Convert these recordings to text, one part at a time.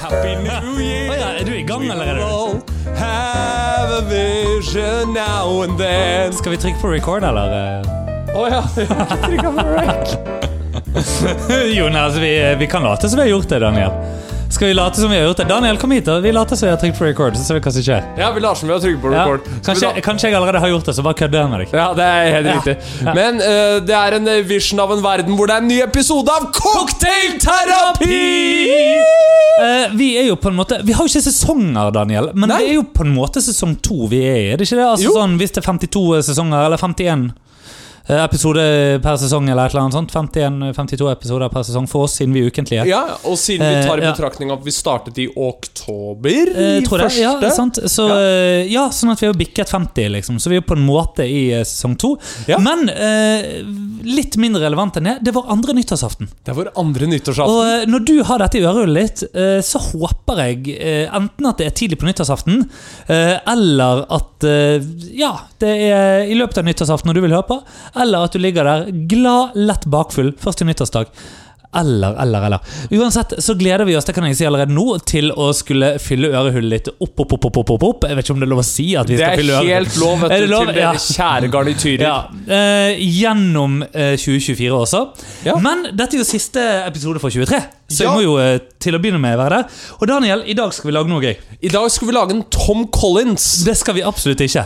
Happy New Year. Å ja, er du i gang allerede? Have a vision now and then. Skal vi trykke på record, eller? eh? Å ja. Jonas, vi, vi kan late som vi har gjort det, Daniel. Skal vi late som vi har gjort det? Daniel, kom hit. da. Vi later som vi har trykt på record. så ser vi hva som skjer. ja, vi lar som vi har trykket på Ja. record. Skal vi Kanskje, da- kanskje jeg allerede har gjort det, så bare kødder jeg med deg. Ja, det er helt riktig. Men eh, det er en eh, vision av en verden hvor det er en ny episode av Cocktailterapi! Eh, vi er jo på en måte Vi har jo ikke sesonger, Daniel, men Nei. det er jo på en måte sesong to vi er i. Er det ikke det? Altså, Jo. sånn, hvis det er 52 sesonger, eller 51 eh, episoder per sesong, eller et eller annet sånt. 51-52 episoder per sesong for oss, siden vi er ukentlige. Ja, og siden vi tar i Eh, ja. betraktning at vi startet i oktober Eh, tror det. første Ja, sant? Så, Ja. eh, ja, sånn at vi har bikket 50, liksom. Så vi er på en måte i eh, sesong to. Ja. Men eh, litt mindre relevant enn det, det var andre nyttårsaften. Det er vår andre nyttårsaften. Og eh, når du har dette i ørehullet ditt, eh, så håper jeg eh, enten at det er tidlig på nyttårsaften, eh, eller at eh, ja, det er i løpet av nyttårsaften når du vil høre på, eller at du ligger der glad, lett bakfull første nyttårsdag. Eller, eller, eller. Uansett så gleder vi oss det kan jeg si allerede nå, til å skulle fylle ørehullet ditt opp, opp, opp. opp, opp, opp, opp. Jeg vet ikke om det er lov å si at vi Det skal er fylle ørehullet. helt lov, vet Er du, det lov? til dere Ja. kjære garnityrer. Ja, eh, Gjennom eh, 2024 også. Ja. Men dette er jo siste episode for 23, så Ja. jeg må jo eh, til å begynne med være der. Og Daniel, i dag skal vi lage noe gøy. I dag skal vi lage en Tom Collins. Det skal vi absolutt ikke.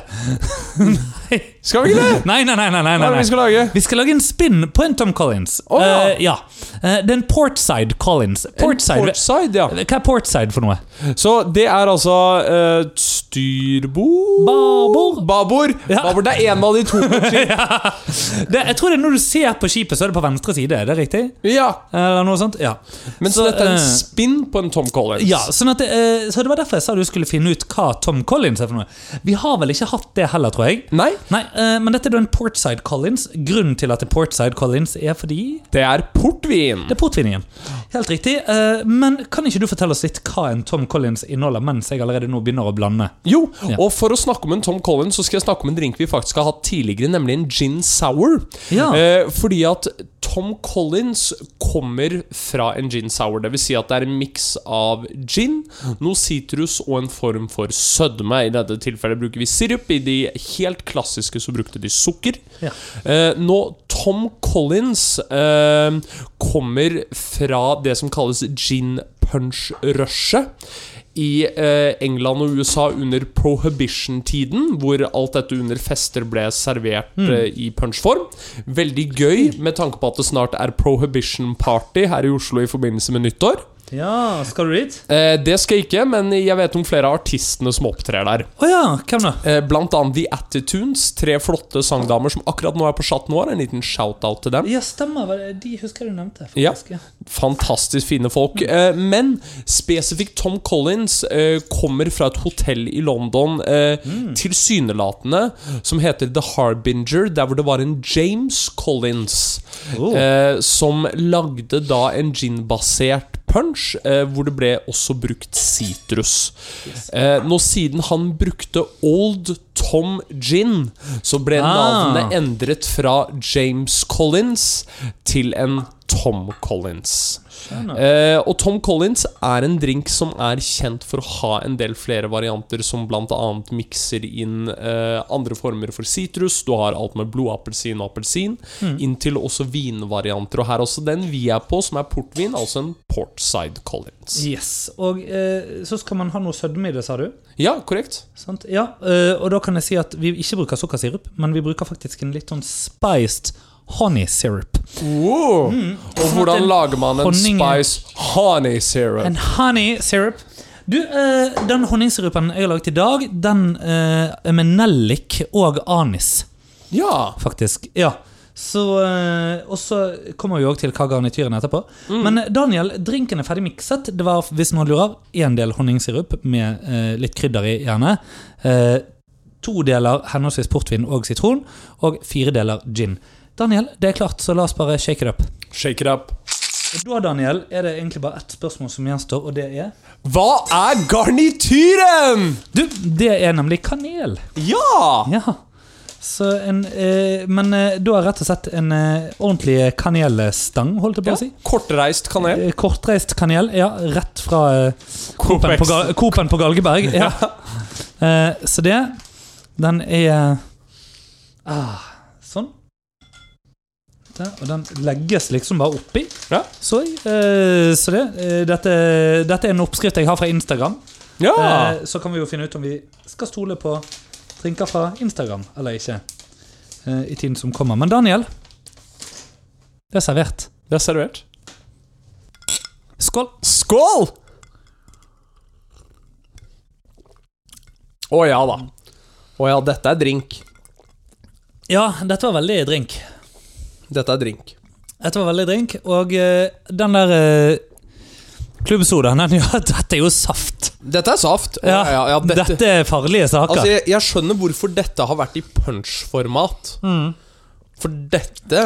Skal vi ikke det? Nei, nei, nei. nei, Hva nei, er nei. det vi skal lage? Vi skal lage en spinn på en Tom Collins. Å, ja. Eh, ja. Eh, det er en Portside Collins. Portside, Portside, ja. Hva er Portside for noe? Så det er altså eh, styrbord Babord. Babord. Ja. Babord, Det er en av de to. Det, jeg tror det er Når du ser på skipet, så er det på venstre side. Er det riktig? ja. Eller noe sånt? Ja. Men så, dette er eh, en spinn på en Tom Collins. Ja, sånn at det, eh, så det var derfor jeg sa du skulle finne ut hva Tom Collins er for noe. Vi har vel ikke hatt det heller, tror jeg. Nei, Nei, eh, men dette er da en Portside Collins. Grunnen til at det er Portside Collins er fordi det er portvin. det er portvinningen. Helt riktig. eh, Men kan ikke du fortelle oss litt hva en Tom Collins inneholder, mens jeg allerede nå begynner å blande? Jo, Ja. og for å snakke om en Tom Collins, så skal jeg snakke om en drink vi faktisk har hatt tidligere, nemlig en gin sour. Ja. Eh, fordi at Tom Collins kommer fra en gin sour. Det vil si at det er en miks av gin, noe sitrus og en form for sødme. I dette tilfellet bruker vi sirup. I de helt klassiske så brukte de sukker. Ja. Eh, nå, Tom Collins eh, kommer fra det som kalles gin punch-rushet. I eh, England og USA under prohibition-tiden, hvor alt dette under fester ble servert eh, i punchform. Veldig gøy med tanke på at det snart er prohibition-party her i Oslo i forbindelse med nyttår. Ja, skal du dit? Eh, det skal jeg ikke, men jeg vet om flere av artistene som opptrer der. Å ja, hvem da? Eh, Blant annet The Attitunes, tre flotte sangdamer som akkurat nå er på chat nå. En liten shout-out til dem. Ja, stemmer. var det- De husker jeg du nevnte. Ja. faktisk, ja. Fantastisk fine folk. Mm. Eh, Men spesifikt Tom Collins eh, kommer fra et hotell i London, eh, Mm. tilsynelatende, som heter The Harbinger, der hvor det var en James Collins Oh. eh, som lagde da en ginbasert punch, eh, hvor det ble også brukt sitrus. Eh, nå siden han brukte Old Tom Gin, så ble Ah. navnet endret fra James Collins til en Tom Collins. Eh, og Tom Collins er en drink som er kjent for å ha en del flere varianter, som bl.a. mikser inn eh, andre former for sitrus. Du har alt med blodappelsin og appelsin, Hmm. inntil også vinvarianter. Og her også den vi er på, som er portvin, altså en Portside Collins. Yes. Og eh, så skal man ha noe sødme i det, sa du? Ja, korrekt. Sant? Ja, eh, og da kan jeg si at vi ikke bruker sukkersirup, men vi bruker faktisk en litt sånn spiced honey syrup. Hmm. Og hvordan lager man en Honning- spice honey syrup? En honey syrup. Du, eh, den honningsirupen jeg har laget i dag, den eh, er med nellik og anis, Ja. faktisk. Ja. Så, eh, og så kommer vi òg til hva garnityren er etterpå. Men eh, Daniel, drinken er ferdig mikset. Det var, hvis noen lurer, én del honningsirup med eh, litt krydder i, gjerne. Eh, to deler henholdsvis portvin og sitron, og fire deler gin. Daniel, det er klart, så la oss bare shake it up. Shake it up. Og da, Daniel, er det egentlig bare ett spørsmål som gjenstår, og det er Hva er garnityren? Du, det er nemlig kanel. Ja! Ja. Så en, eh, men eh, da er rett og slett en eh, ordentlig kanelstang, holdt jeg på Ja, å si. kortreist kanel. Eh, Kortreist kanel, ja. Rett fra eh, Coop-en Coop på, Ga- Coop-en på Galgeberg. Ja. Eh, så det Den er ah, Sånn. Der, og den legges liksom bare oppi. Ja. Så, eh, så det. eh, dette, dette er en oppskrift jeg har fra Instagram. Ja! Eh, Så kan vi jo finne ut om vi skal stole på drinker fra Instagram eller ikke. eh, I tiden som kommer. Men Daniel, det er servert. Det er servert. Skål! Skål! Å ja da. Å ja, dette er drink. Ja, dette var veldig drink. Dette er drink. Dette var veldig drink, og eh, den der eh, klubbsodaen den, ja, Dette er jo saft. Dette er saft. Å, Ja, ja, ja, dette. dette. er farlige saker. Altså, jeg, jeg skjønner hvorfor dette har vært i punch-format. Mm. For dette,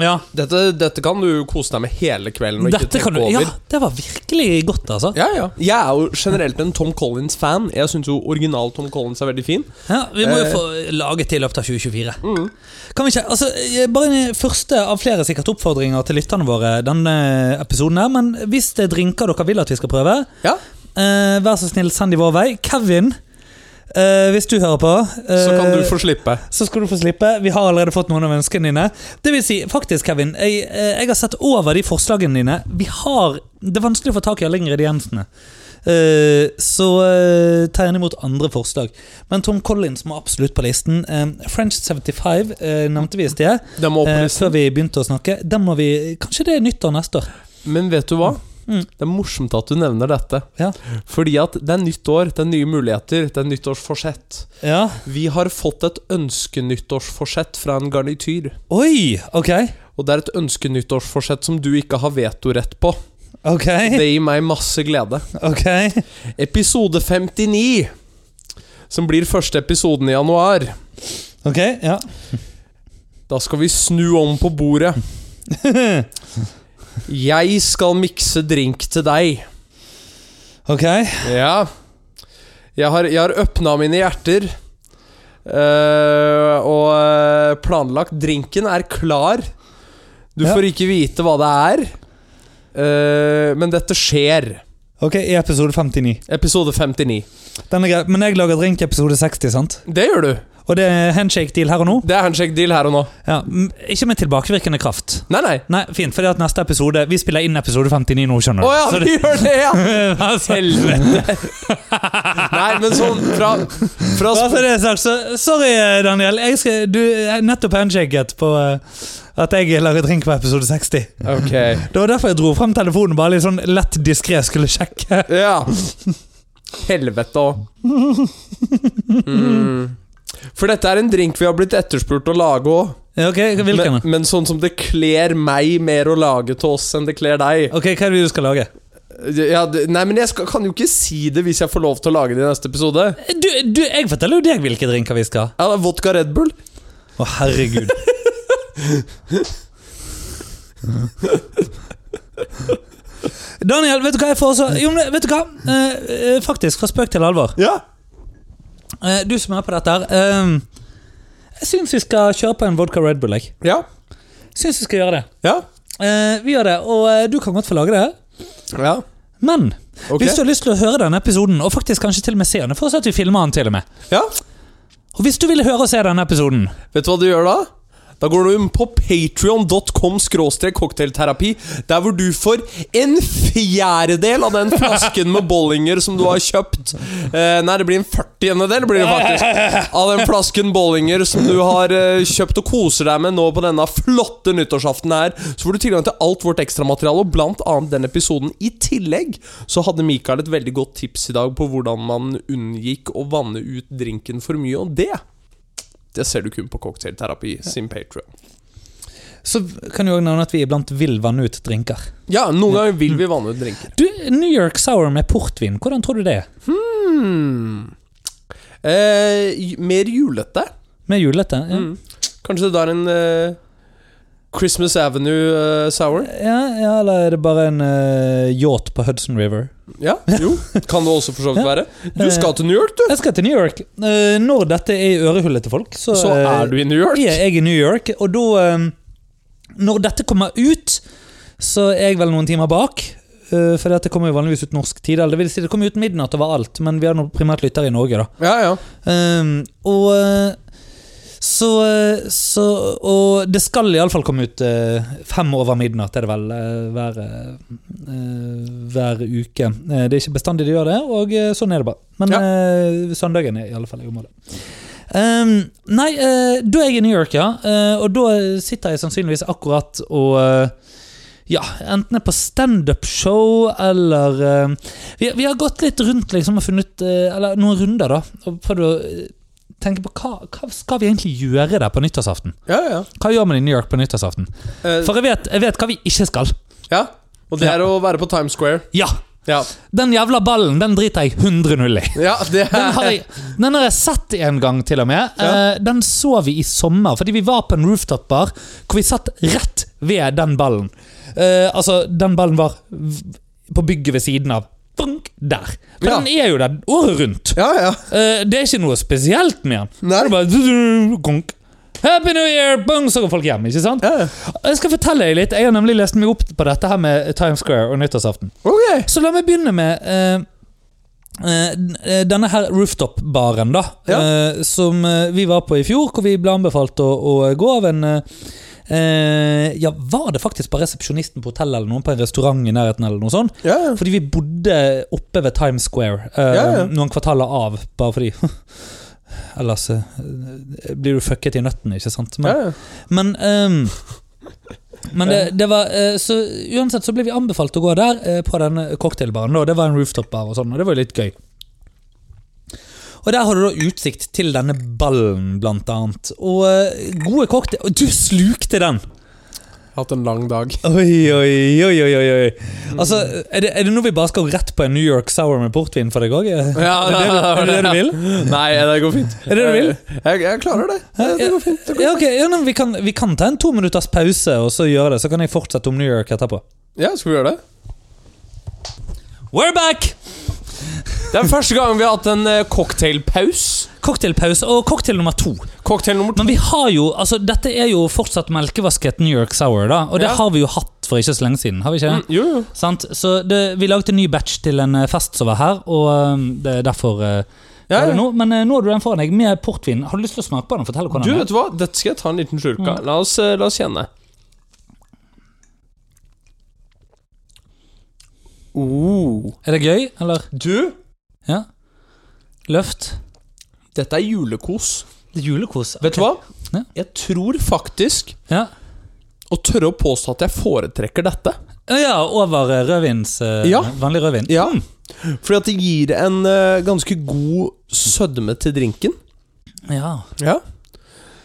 ja, dette Dette kan du kose deg med hele kvelden. Og dette ikke kan tenke du, over ja, det var virkelig godt, altså. Ja, ja. Jeg er jo generelt en Tom Collins-fan. Jeg syns jo original Tom Collins er veldig fin. Ja, Vi må jo Eh. Mm. få laget til i løpet av 2024. Kan vi ikke, altså, eh, Bare en første av flere sikkert oppfordringer til lytterne våre. denne episoden her, Men hvis det er drinker dere vil at vi skal prøve, Ja, eh, vær så snill, send de vår vei. Kevin, eh, hvis du hører på eh, Så kan du få slippe. så skal du få slippe. Vi har allerede fått noen av ønskene dine. Det vil si, faktisk, Kevin, jeg, eh, jeg har sett over de forslagene dine. Vi har Det er vanskelig å få tak i alle ingrediensene. Eh, så eh, ta gjerne imot andre forslag. Men Tom Collins må absolutt på listen. Eh, French 75 eh, nevnte vi i sted, Det må opp på eh, listen. før vi begynte å snakke. Den må vi, Kanskje det er nyttår neste år. Men vet du hva? Mm. Det er morsomt at du nevner dette. Ja. Fordi at det er nytt år, det er nye muligheter, det er nyttårsforsett. Ja. Vi har fått et ønskenyttårsforsett fra en garnityr. Oi! Ok. Og det er et ønskenyttårsforsett som du ikke har vetorett på. Ok. Det gir meg masse glede. ok Episode 59, som blir første episoden i januar. Ok, Ja. Da skal vi snu om på bordet. Jeg skal mikse drink til deg. Ok. Ja. Jeg har, jeg har øpna mine hjerter. eh, og eh, planlagt. Drinken er klar. Du Ja. får ikke vite hva det er. Eh, men dette skjer. Ok, I episode 59. Episode 59. Den er grei. Men jeg lager drink i episode 60, sant? Det gjør du. Og det er handshake-deal her og nå. Det er handshake deal her og nå. Ja, m- ikke med tilbakevirkende kraft. Nei, nei. Nei, fint, for det at neste episode Vi spiller inn episode 59 nå, Å skjønner du. ja, Så vi det, gjør det, ja! altså, Helvete. Nei, men sånn fra, fra bare så det er sagt, så, sorry, Daniel. Jeg skal, du jeg nettopp handshaket på eh, at jeg lager drink på episode 60. Ok. Det var derfor jeg dro frem telefonen, bare litt sånn lett diskré skulle sjekke. Ja. Helvete òg. Mm. For dette er en drink vi har blitt etterspurt å lage òg. Ja, Ok, hvilken? Men, men sånn som det kler meg mer å lage til oss enn det kler deg. Ok, Hva er det du skal lage? Ja, det- nei, men jeg skal, kan jo ikke si det hvis jeg får lov til å lage det i neste episode. Du, du, jeg forteller jo deg hvilke drinker vi skal ha. Ja, det er Vodka Red Bull. Å, herregud. Daniel, vet du hva jeg får også? Jo, men vet du hva? Eh, eh, faktisk, fra spøk til alvor. Ja. Eh, du som er på dette her. eh, jeg syns vi skal kjøre på en vodka Red Bull. Jeg Ja. syns vi skal gjøre det. Ja. Eh, vi gjør det, og eh, du kan godt få lage det. ja. Men Ok. hvis du har lyst til å høre denne episoden, og faktisk kanskje til og med se den, for at vi filmer den til og med. ja. Og hvis du ville høre og se denne episoden Vet du hva du gjør da? Da går du inn på patreon.com cocktailterapi, der hvor du får en fjerdedel av den flasken med bollinger som du har kjøpt. Eh, nei, det blir en førtiendedel, blir det faktisk. Av den flasken bollinger som du har eh, kjøpt og koser deg med nå på denne flotte nyttårsaften her. Så får du tilgang til alt vårt ekstramateriale, og blant annet den episoden. I tillegg så hadde Mikael et veldig godt tips i dag på hvordan man unngikk å vanne ut drinken for mye, og det det ser du kun på Cocktailterapi sin Patreon. så kan du òg nevne at vi iblant vil vanne ut drinker. Ja, noen ganger vil vi vanne ut drinker. Du, New York Sour med portvin, hvordan tror du det er? Hmm. Eh, j- mer julete. Med julete? Ja. Mm. Kanskje det da er en eh, Christmas Avenue eh, Sour? Ja, ja, eller er det bare en eh, yacht på Hudson River? Ja, jo. Kan det også for så vidt være. Du skal til New York, du. Jeg skal til New York. Eh, Når dette er i ørehullet til folk, så, Så eh, er du i New York. er jeg i New York. Og da eh, Når dette kommer ut, så er jeg vel noen timer bak. eh, For dette kommer jo vanligvis ut norsk tid. Eller det vil si det kommer ut midnatt overalt, men vi har nå primært lyttere i Norge, da. Ja, ja. Um, og eh, så, eh, så Og det skal iallfall komme ut eh, fem over midnatt, er det vel, eh, hver, eh, hver uke. Eh, det er ikke bestandig de gjør det, og eh, sånn er det bare. Men Ja. eh, søndagen er i alle fall i området. Um, nei, eh, da er jeg i New York, ja. eh, og da sitter jeg sannsynligvis akkurat og eh, ja, enten er på standup-show eller eh, vi, vi har gått litt rundt liksom, og funnet ut, eh, eller noen runder, da. Og prøvd å eh, tenke på hva, hva skal vi egentlig gjøre der på nyttårsaften? ja, ja. Hva gjør man i New York på nyttårsaften? Eh, For jeg vet, jeg vet hva vi ikke skal. ja. Og det er å være på Times Square. Ja! Ja, Den jævla ballen, den driter jeg 100-0 i. ja det er Den har, jeg, den har jeg sett en gang, til og med. Ja. Eh, den så vi i sommer, fordi vi var på en rooftop-bar hvor vi satt rett ved den ballen. Eh, altså, den ballen var v- på bygget ved siden av. Bunk, der. For Ja. den er jo der året rundt. Ja, ja. Eh, det er ikke noe spesielt med den. Nei. Det er bare du- du- gunk. Happy New Year! Bung, så går folk hjem. ikke sant? ja. Jeg skal fortelle deg litt. Jeg har nemlig lest meg opp på dette her med Times Square og nyttårsaften. Ok. Så la meg begynne med eh, eh, d- denne her rooftop-baren, da. Ja. eh, som eh, vi var på i fjor, hvor vi ble anbefalt å, å gå av en eh, eh, Ja, var det faktisk bare resepsjonisten på hotellet eller noen på en restaurant i nærheten? eller noe sånt? Ja, ja. Fordi vi bodde oppe ved Times Square eh, Ja, ja. noen kvartaler av, bare fordi Ellers eh, blir du fucket i nøttene, ikke sant? Men, ja, ja. men ehm, men det, det var, eh, så uansett så ble vi anbefalt å gå der eh, på den cocktailbaren. da. Det var en rooftop-bar, og sånn, og det var jo litt gøy. Og Der har du da utsikt til denne ballen, blant annet. Og eh, gode cocktail... Og Du slukte den! Hatt en lang dag. Oi, oi, oi, oi, oi. oi. Altså, er det, er det nå vi bare skal rett på en New York Sour med portvin for deg òg? Er det Ja, det du- er det det du vil? Nei, det går fint. Eh, Er det det du vil? Jeg, jeg klarer det. Det, det går fint. Det går. Ja, ok, ja, men vi, kan, vi kan ta en to minutters pause, og så gjøre det. Så kan jeg fortsette om New York etterpå. Ja, skal vi gjøre det? We're back! Det er første gang vi har hatt en eh, cocktailpaus. Cocktailpause og cocktail nummer to. Cocktail nummer to. Men vi har jo, altså dette er jo fortsatt melkevasket New York Sour, da. Og det Ja. har vi jo hatt for ikke så lenge siden. har vi ikke? Mm, jo, jo. Sant? Så det, vi lagde en ny batch til en eh, fest som var her, og eh, det er derfor eh, Ja, er det ja. nå. Men eh, nå har du den foran deg med portvin. Har du lyst til å smake på den? Fortell hvordan Du, den er. vet du hva? Dette skal jeg ta en liten slurk av. La, oss, eh, la oss kjenne. Oh. Er det gøy, eller? Du, Ja? Løft? dette er julekos. Det er julekos. Vet du hva? Ja. Jeg tror faktisk Ja, å tørre å påstå at jeg foretrekker dette. ja over eh, rødvins. eh, Ja. Vanlig rødvin. Ja. Mm. Fordi at det gir en eh, ganske god sødme til drinken. Ja. Ja.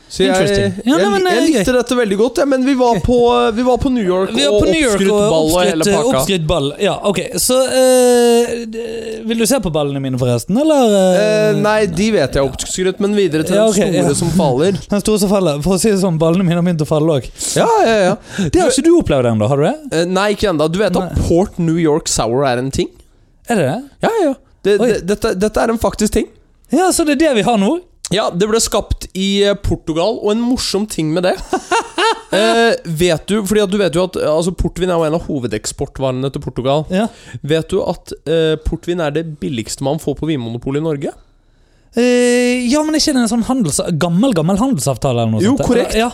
Så jeg, jeg, Interesting. Ja, nei, men, jeg eh, likte dette veldig godt, ja, men vi var på, eh, vi var på New York Vi er og på New York oppskrytt og ball og hele oppskrytt, eh, pakka. oppskrytt ball. Ja, ok. Så eh, d- Vil du se på ballene mine, forresten, eller? eh, Eh, nei, de vet jeg er oppskrytt, men videre til Ja, ok, den store ja. som faller. Den store som faller. For å si det sånn, ballene mine har begynt å falle òg. Ja, ja, ja. Det har ikke du opplevd ennå, har du det? Eh, nei, ikke ennå. Du vet at Port New York Sour er en ting? Er det det? Ja, ja. Det, Oi. det, dette, dette er en faktisk ting. Ja, så det er det vi har nå? Ja, det ble skapt i eh, Portugal, og en morsom ting med det eh, Vet du, fordi at du vet jo at eh, altså, portvin er jo en av hovedeksportvarene til Portugal. Ja. Vet du at eh, portvin er det billigste man får på Vinmonopolet i Norge? Eh, ja, men er ikke det en sånn handels gammel gammel handelsavtale? eller noe Jo, sånt? korrekt. Ja.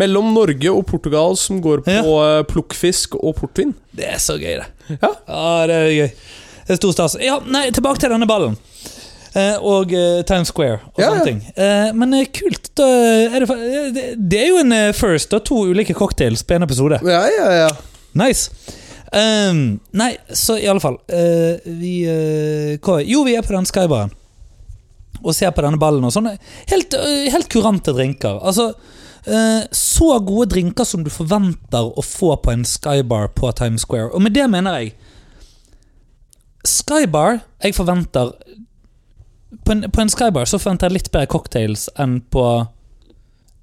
Mellom Norge og Portugal som går på Ja. eh, plukkfisk og portvin. Det er så gøy, det. Ja. det er gøy. Det er stor stas. Ja, nei, tilbake til denne ballen. Eh, og eh, Times Square og Ja, ja. sånne ting. Eh, men eh, kult. Da er det, fa- eh, det, det er jo en eh, first og to ulike cocktails på en episode. Ja, ja, ja. Nice. Ehm, nei, så i alle fall eh, Vi eh, hva- Jo, vi er på den skybaren og ser på denne ballen og sånn. Helt, eh, helt kurante drinker. Altså eh, så gode drinker som du forventer å få på en skybar på Times Square. Og med det mener jeg Skybar Jeg forventer På en, på en skybar så forventer jeg litt bedre cocktails enn på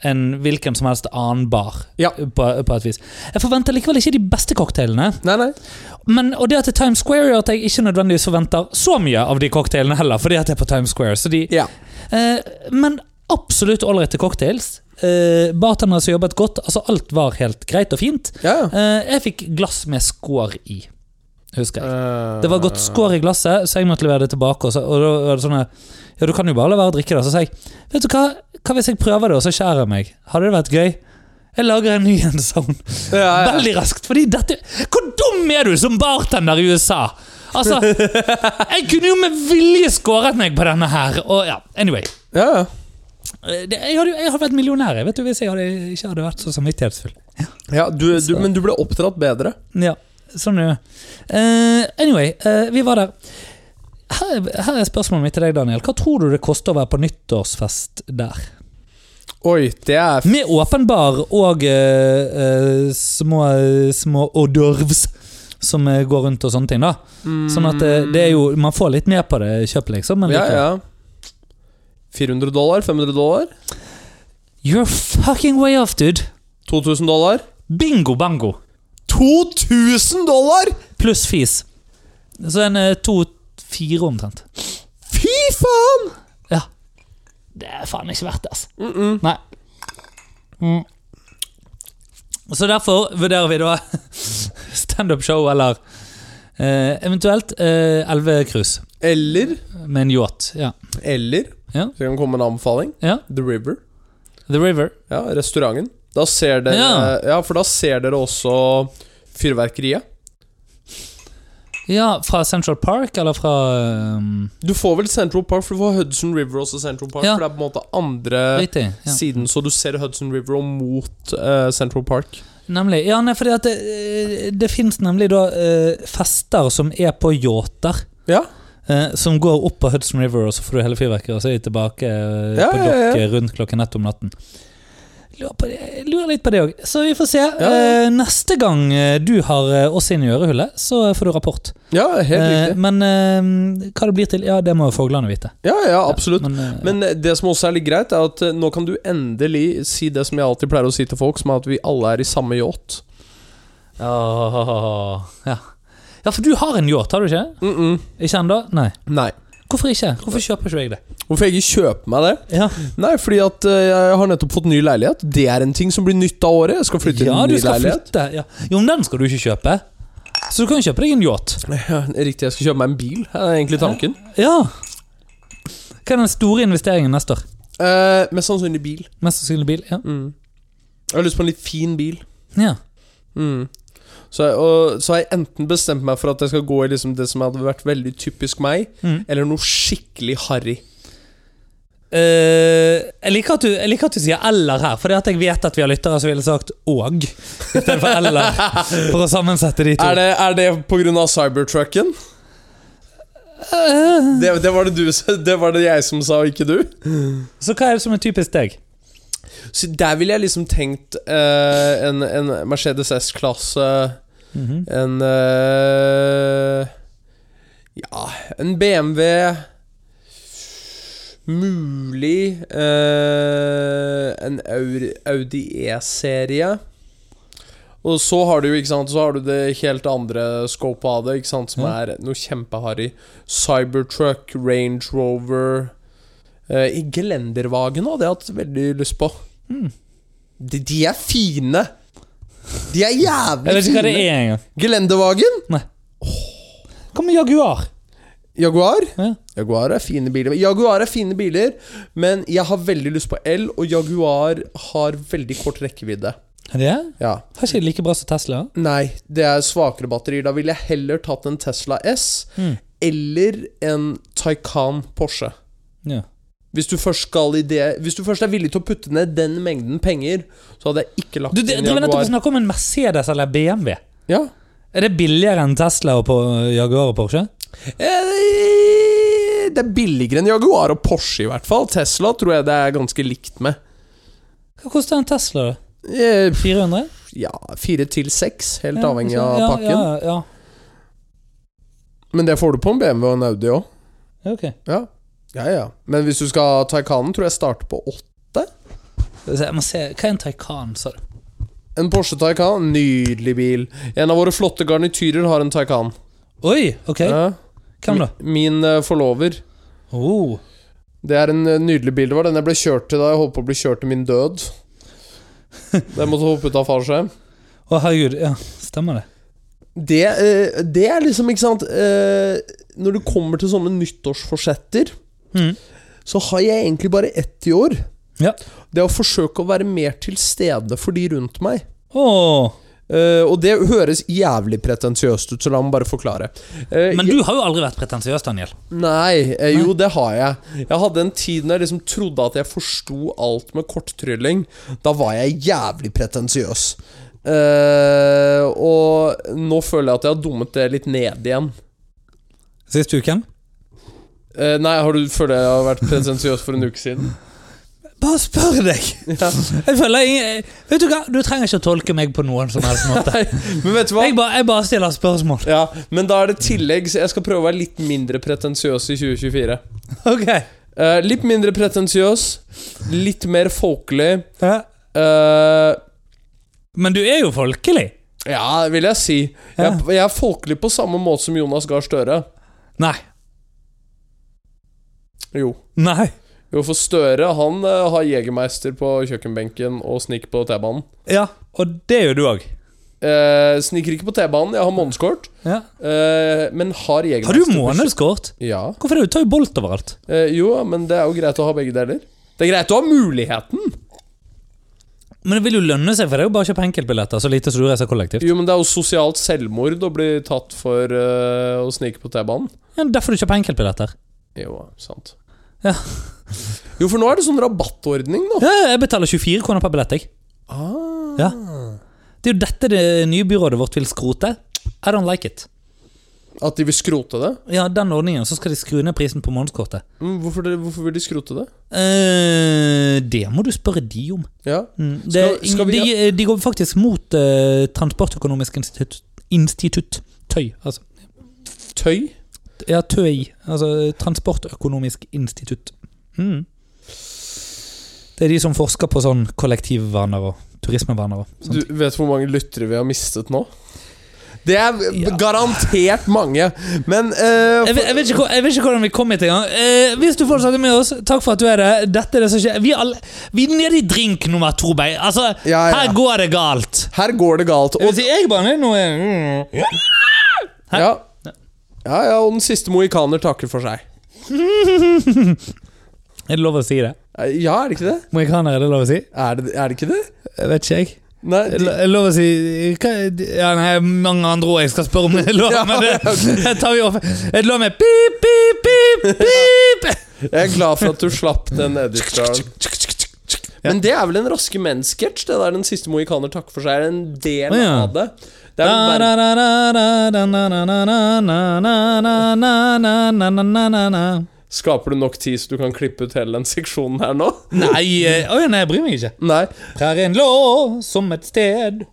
enn hvilken som helst annen bar. Ja. På, på et vis. Jeg forventer likevel ikke de beste cocktailene. Nei, nei. Men, og det at det er Times Square gjør at jeg ikke nødvendigvis forventer så mye av de cocktailene heller. fordi at det er på Times Square. Så de, Ja. eh, men absolutt ålreite cocktails. Eh, Bartendere som jobbet godt. altså Alt var helt greit og fint. ja. Eh, jeg fikk glass med skår i, husker jeg. Det var godt skår i glasset, så jeg måtte levere det tilbake. Og, så, og da var det sånn Ja, du kan jo bare la være å drikke det. Så sa jeg Vet du hva, hva hvis jeg prøver det, og så skjærer jeg meg? Hadde det vært gøy? Jeg lager en ny en, sånn." sa hun. Ja, ja. Veldig raskt, fordi dette Hvor dum er du som bartender i USA? Altså, jeg kunne jo med vilje skåret meg på denne her, og ja, anyway. ja, ja. Eh, Det, jeg, hadde, jo- jeg hadde vært millionær, jeg, vet du, hvis jeg hadde, ikke hadde vært så samvittighetsfull. ja du, du, Så- men du ble oppdratt bedre. Ja, sånn er det. Eh, anyway, eh, vi var der. Her, her er spørsmålet mitt til deg, Daniel. Hva tror du det koster å være på nyttårsfest der? Oi, det er Med åpen bar og eh, eh, små, små hors d'oeuvres som eh, går rundt og sånne ting, da. Sånn at det, det er jo Man får litt ned på det kjøpet, liksom. Men Mm. Ja, likevel. ja. 400 dollar? 500 dollar? You're fucking way off, dude. 2000 dollar? Bingo bango. 2000 dollar?! Pluss fis. Så en eh, to-fire omtrent. Fy faen! Ja. Det er faen ikke verdt det, altså. Mm -mm. Nei. Mm. Så derfor vurderer vi da standup-show eller eh, eventuelt eh, elvecruise Eller med en yacht. Ja. Eller Ja. Så kan det komme en anbefaling. Ja. The River. The River. Ja, Restauranten. Da ser dere ja. Ja. for da ser dere også fyrverkeriet. Ja, Fra Central Park, eller fra um, Du får vel Central Park, for du får Hudson River også Central Park. Ja. For det er på en måte andre Riktig. Ja. siden, så du ser Hudson River og mot eh, Central Park. Nemlig. Ja, nei, fordi at det, eh, det fins nemlig da eh, fester som er på yachter. Ja. Eh, som går opp på Hudson River, og så får du hele fyrverkeriet, og så er de tilbake eh, Ja, på ja, ja. dokket rundt klokken ett om natten. Lurer, på det. jeg lurer litt på det òg. Så vi får se. Ja. Eh, neste gang eh, du har eh, oss inn i ørehullet, så eh, får du rapport. Ja, helt Eh, riktig. men eh, hva det blir til, ja, det må jo fuglene vite. Ja, ja, absolutt. Men, eh, Men eh, det som også er litt greit, er at eh, nå kan du endelig si det som jeg alltid pleier å si til folk, som er at vi alle er i samme yacht. Åh, ja. ja, for du har en yacht, har du ikke? Mm -mm. Ikke ennå? Nei. Nei. Hvorfor ikke? Hvorfor kjøper ikke jeg det? Hvorfor jeg ikke kjøper meg det? Ja, Nei, fordi at eh, jeg har nettopp fått ny leilighet. Det er en ting som blir nytt av året. Jeg skal flytte inn i ja en du ny skal leilighet. flytte. Ja. Jo, men den skal du ikke kjøpe. Så du kan jo kjøpe deg en yacht. Ja, riktig, jeg skal kjøpe meg en bil, er egentlig tanken. Ja. Hva er den store investeringen neste år? Eh, mest sannsynlig bil. Mest sannsynlig bil? Ja. Mm. Jeg har lyst på en litt fin bil. ja. Mm. Så, jeg, og, så har jeg enten bestemt meg for at jeg skal gå i liksom det som hadde vært veldig typisk meg, Mm. eller noe skikkelig harry. Eh, jeg, liker at du, jeg liker at du sier 'eller' her, fordi at jeg vet at vi har lyttere som ville sagt 'og' istedenfor 'eller', for å sammensette de to. Er det, er det pga. cybertrucken? Eh, Det, det, var det, du, som- det var det jeg som sa, ikke du? så hva er det som er typisk deg? Så der ville jeg liksom tenkt eh, en, en Mercedes S-klasse. Mhm. En eh, Ja, en BMW Mulig eh, en Audi, Audi E-serie. Og så har du jo, ikke sant, så har du det helt andre scopet av det, ikke sant, som Ja. er noe kjempeharry. Cybertruck, Range Rover eh, I Gelendervagen hadde jeg hatt veldig lyst på. Mm. De, de er fine! De er jævlig Jeg vet ikke hva fine! det er engang. Gelendevagen? Hva med Jaguar? Jaguar? Ja. Jaguar er fine biler. Jaguar er fine biler, men jeg har veldig lyst på el, og Jaguar har veldig kort rekkevidde. Er det? Ja. Har ikke det like bra som Tesla? Nei, det er svakere batterier. Da ville jeg heller tatt en Tesla S Mm. eller en Taycan Porsche. Ja. Hvis du, først skal i det, hvis du først er villig til å putte ned den mengden penger, så hadde jeg ikke lagt Du, det, inn det var nettopp Jaguar. snakk om en Mercedes eller BMW. Ja. Er det billigere enn Tesla og på Jaguar og Porsche? Eh, Det er billigere enn Jaguar og Porsche, i hvert fall. Tesla tror jeg det er ganske likt med. Hva koster en Tesla? da? Eh, 400? Ja, fire til seks, helt Ja, avhengig så- av ja, pakken. Ja, ja. Men det får du på en BMW og en Audi òg. Ja, ok. Ja. ja, ja. Men hvis du skal ha Taycanen, tror jeg starter på åtte. Skal vi se, Jeg må se, Hva er en Taycan, sa du? En Porsche Taycan, nydelig bil. En av våre flotte garnityrer har en Taycan. Oi, ok. Ja. Hvem da? Min eh, forlover. Oh. Det er en eh, nydelig bil det var. Den jeg ble kjørt til da jeg holdt på å bli kjørt til min død. Den måtte hoppe ut av fallskjerm. Å, herregud. Ja, stemmer det. Det, eh, det er liksom, ikke sant eh, Når det kommer til sånne nyttårsforsetter, Mhm. så har jeg egentlig bare ett i år. Ja. Det er å forsøke å være mer til stede for de rundt meg. Åh. Eh, og det høres jævlig pretensiøst ut, så la meg bare forklare. Eh, Men du har jo aldri vært pretensiøs, Daniel. Nei, eh, jo det har jeg. Jeg hadde en tid når jeg liksom trodde at jeg forsto alt med korttrylling. Da var jeg jævlig pretensiøs. Eh, og nå føler jeg at jeg har dummet det litt ned igjen. Sist uken? Eh, nei, har du føler jeg har vært pretensiøs for en uke siden? Bare spør deg! Jeg føler jeg, Vet du hva, du trenger ikke å tolke meg på noen som helst måte. Nei, men vet du hva? Jeg bare, jeg bare stiller spørsmål. Ja, men da er det tillegg, så jeg skal prøve å være litt mindre pretensiøs i 2024. Ok. Eh, litt mindre pretensiøs, litt mer folkelig. Ja. eh, Men du er jo folkelig. Ja, vil jeg si. Jeg, jeg er folkelig på samme måte som Jonas Gahr Støre. Nei. Jo. Nei. Jo, for Støre han eh, har Jegermeister på kjøkkenbenken og sniker på T-banen. Ja, og det gjør du òg. Eh, sniker ikke på T-banen, jeg har månedskort, Ja. eh, men har Har du Jegermeister på månedskort? kjø- Ja. Hvorfor det? Du tar jo Bolt overalt. Eh, jo, men det er jo greit å ha begge deler. Det er greit å ha muligheten! Men det vil jo lønne seg, for det er jo bare å kjøpe enkeltbilletter. Så lite som du reiser kollektivt. Jo, men det er jo sosialt selvmord å bli tatt for eh, å snike på T-banen. Ja, derfor du kjøper enkeltbilletter. Jo, sant. Ja. Jo, for nå er det sånn rabattordning, da. Ja, jeg betaler 24 kroner per billett, jeg. Ah. Ja. Det er jo dette det nye byrådet vårt vil skrote. I don't like it. At de vil skrote det? Ja, den ordningen, så skal de skru ned prisen på månedskortet. Mm, Hvorfor, det- hvorfor vil de skrote det? eh det må du spørre de om. Ja. Det, Skal- skal vi- de, de går faktisk mot eh, Transportøkonomisk institutt. institutt. Tøy, altså. Tøy? Ja, tøy. Altså Transportøkonomisk institutt. Mm. Det er de som forsker på sånn kollektivvaner og turismevaner. Og sånt. Du vet hvor mange lyttere vi har mistet nå? Det er Ja. garantert mange, men eh, Jeg vet, jeg, vet ikke, hvor- jeg vet ikke hvordan vi kom hit engang. Eh, hvis du fortsatt er med oss, takk for at du er der. Dette er det som skjer. Vi, er alle, vi er nede i drink nummer to, Bei. Altså, Ja, ja. her går det galt. Her går det galt. Jeg vil Og, si, jeg bare er noe Hæ? ja. ja, ja, og den siste mohikaner takker for seg. Er det lov å si det? Eh, Ja, er det ikke det? Mohikaner, er det lov å si? Er det, er det ikke det? Jeg vet ikke, jeg. Nei, Er de, det lov å si hva, er det- Ja, nei, mange andre ord jeg skal spørre om. det er Lov, Ja, men det, det tar vi opp. Er det lov med pip, pip, pip, pip? jeg er glad for at du slapp den editeren. Men det er vel en Raske menn-sketsj? Det der den siste mohikaner takker for seg er en del Å, ja. av det. Det er vel Da, verden- da, da, da, da, da, na, na, na, na, na, na, na, na, na, na, na, na, na. Skaper du nok tid så du kan klippe ut hele den seksjonen her nå? Nei, eh, oi, nei, jeg bryr meg ikke. Nei. Her er en lå som et sted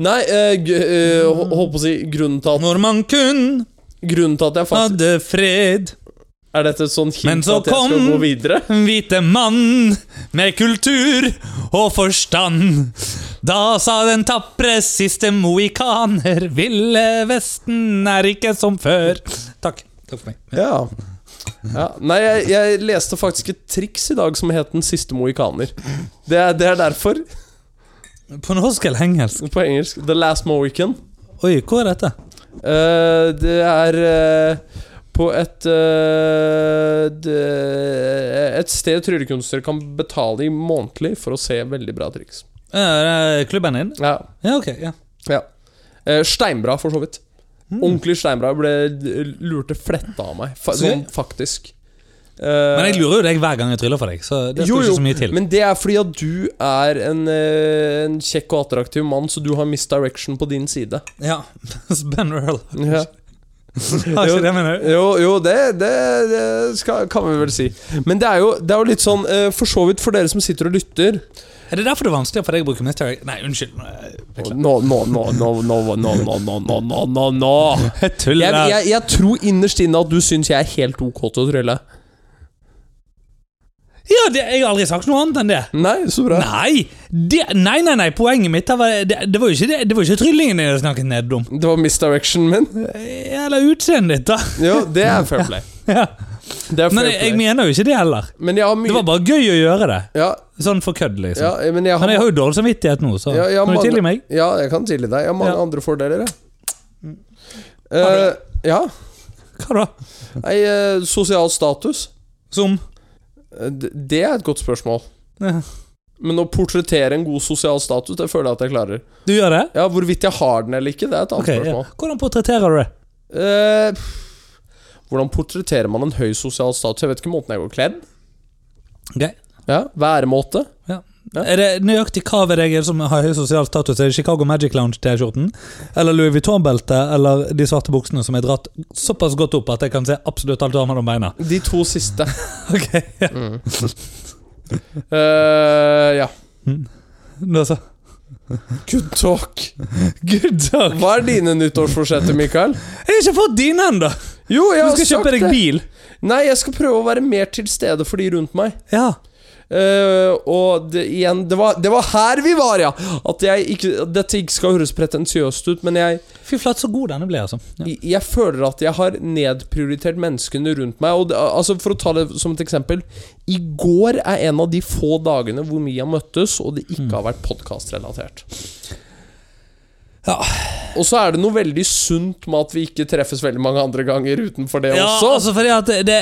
Nei, eh, g- eh, hå- holdt på å si grunnen til, at, når man kun grunnen til at jeg faktisk hadde fred. Er dette et sånt Men hint så at jeg skal kom- gå videre? Hvite mann med kultur og forstand. Da sa den tapre siste mohikaner, ville Vesten er ikke som før. Takk. Takk for meg. Ja. ja. Nei, jeg, jeg leste faktisk et triks i dag som het Den siste mohikaner. Det er, det er derfor. På norsk eller engelsk? På engelsk. The Last Mohican. Oi, hvor er dette? Eh, det er eh, på et eh, det, Et sted tryllekunstnere kan betale i månedlig for å se veldig bra triks. Ja, det Eh, er Klubben din? Ja, Ja, ok. ja Ja. Eh, steinbra, for så vidt. Ordentlig steinbra. Jeg ble d- lurte fletta av meg, fa Så- sånn faktisk. Eh, Men jeg lurer jo deg hver gang jeg tryller for deg, så det Jo, skal jo, ikke så mye til. men det er fordi at du er en, eh, en kjekk og attraktiv mann, så du har misdirection på din side. Ja, Ben Earl. Ja. Har ikke det, mener du? Jo, jo det, det, det skal, kan vi vel si. Men det er jo, det er jo litt sånn, eh, for så vidt for dere som sitter og lytter Er det derfor det er vanskelig for deg å bruke mystery? Nei, unnskyld. Nå, nå, nå, nå, nå, nå, nå, nå, nå, nå, nå, nå. Jeg Jeg, tuller. jeg, jeg tror innerst inne at du syns jeg er helt ok til å trylle. Ja, det, jeg har aldri sagt noe annet enn det. Nei, så bra. Nei! Det, nei, nei, nei, poenget mitt her var, det, det var jo ikke, det, det var jo ikke tryllingen jeg snakket ned om. Eh, Det var misdirection min. Eller utseendet ditt, da. Jo, det er fair play. Ja. Det er fair Men jeg, jeg play. mener jo ikke det heller. Men jeg har Det var mye bare gøy å gjøre det. Ja, Sånn for kødd, ja, liksom. men jeg har Men jeg har jo dårlig samvittighet nå, så Ja, jeg har kan du mange- tilgi meg? Ja, jeg kan tilgi deg. Jeg har mange Ja. andre fordeler, jeg. Har du Eh, ja. Hva da? Nei, eh, sosial status. Som? Eh, d- Det er et godt spørsmål. Ja. Men å portrettere en god sosial status, det føler jeg at jeg klarer. Du gjør det? Ja, Hvorvidt jeg har den eller ikke, det er et annet Ok, ja. spørsmål. Hvordan portretterer du det? Eh, pff, hvordan portretterer man en høy sosial status? Jeg vet ikke måten jeg går kledd. Ok. Ja, Væremåte. Er det nøyaktig hva ved deg er det som har høy sosial status? Er det Chicago Magic Lounge-T-skjorten? Eller Louis Vuitton-beltet? Eller de svarte buksene som er dratt såpass godt opp at jeg kan se absolutt alt du har mellom beina? De to siste. Ok, ja. Mm. Eh, ja. Da så. Good talk. Good talk! Hva er dine nyttårsforsetter, Mikael? Jeg har ikke fått dine ennå! Jo, jeg Du har skal sagt kjøpe deg det. bil. Nei, jeg skal prøve å være mer til stede for de rundt meg. Ja. Eh, og det, igjen, det var, det var her vi var, ja! At jeg ikke, at dette ikke skal høres pretensiøst ut, men jeg, Fy flate, så god denne ble, altså. Ja. jeg, jeg føler at jeg har nedprioritert menneskene rundt meg. Og det, altså For å ta det som et eksempel. I går er en av de få dagene hvor vi har møttes, og det Mm. ikke har vært podkastrelatert. Ja. Og så er det noe veldig sunt med at vi ikke treffes veldig mange andre ganger utenfor det Ja, også. altså fordi at det,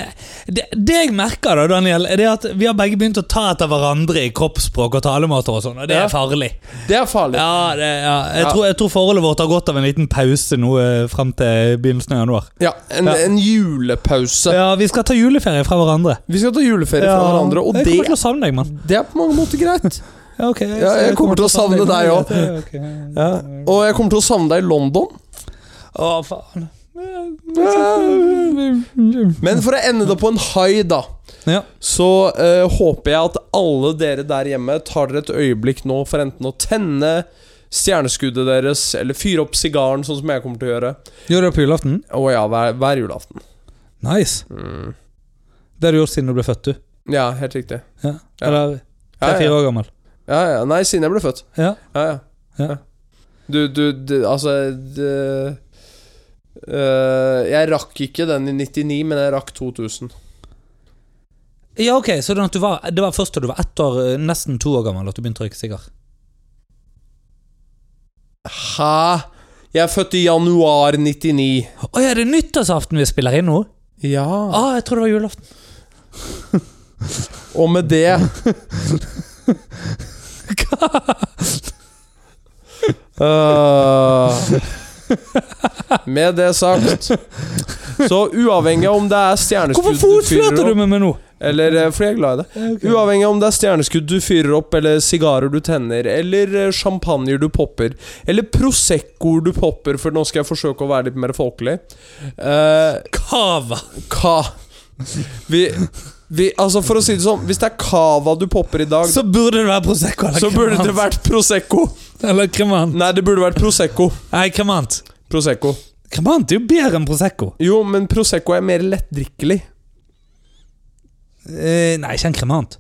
det, det jeg merker, da, Daniel, er det at vi har begge begynt å ta etter hverandre i kroppsspråk og talemåter, og sånn, og det Ja. er farlig. Det er farlig. Ja, det, ja. Jeg, Ja. Tror, jeg tror forholdet vårt har gått av en liten pause nå eh, frem til begynnelsen av januar. Ja, en, Ja. en julepause. Ja, Vi skal ta juleferie fra hverandre. Vi skal ta juleferie fra Ja. hverandre, og jeg det, kommer til å savne deg, mann. det er på mange måter greit. Ja, ok, Ja, jeg kommer til å savne deg òg. men det er greit, det er ok. Og jeg kommer til å savne deg i London. Å, faen. Men for å ende det på en high, da, Ja. så eh, håper jeg at alle dere der hjemme tar dere et øyeblikk nå for enten å tenne stjerneskuddet deres, eller fyre opp sigaren, sånn som jeg kommer til å gjøre. Gjør du det på julaften? Å ja, hver, hver julaften. Nice. Mm. Det har du gjort siden du ble født, du. Ja, helt riktig. Ja. Ja. Eller Ja, tre-fire ja. år gammel. Ja, ja. Nei, siden jeg ble født. Ja. Ja, ja. Ja. ja. Du, du, du altså det- øh, Jeg rakk ikke den i 99, men jeg rakk 2000. Ja, ok, så det var, at du var, det var først da du var ett år, eh, nesten to år gammel, at du begynte å røyke sigar? Hæ? Jeg er født i januar 99. Å ja, det er nyttårsaften vi spiller inn nå? Å, Ja. jeg tror det var julaften. Og med det Øh, Med det sagt Så uavhengig av om det er Hvorfor stjerneskudd fotflørter du med meg nå? Eller eh, fordi jeg er glad i det. Uavhengig av om det er stjerneskudd du fyrer opp, eller sigarer du tenner, eller eh, champagner du popper, eller proseccoer du popper, for nå skal jeg forsøke å være litt mer folkelig. Eh, Cava. hva vi, vi Altså, for å si det sånn, hvis det er cava du popper i dag, Så burde det være Prosecco eller så burde det vært prosecco. Eller Cremant. Nei, det burde vært prosecco. Nei, Cremant. Prosecco. Cremant er jo bedre enn Prosecco. Jo, men prosecco er mer lettdrikkelig. Eh, nei, ikke en Cremant.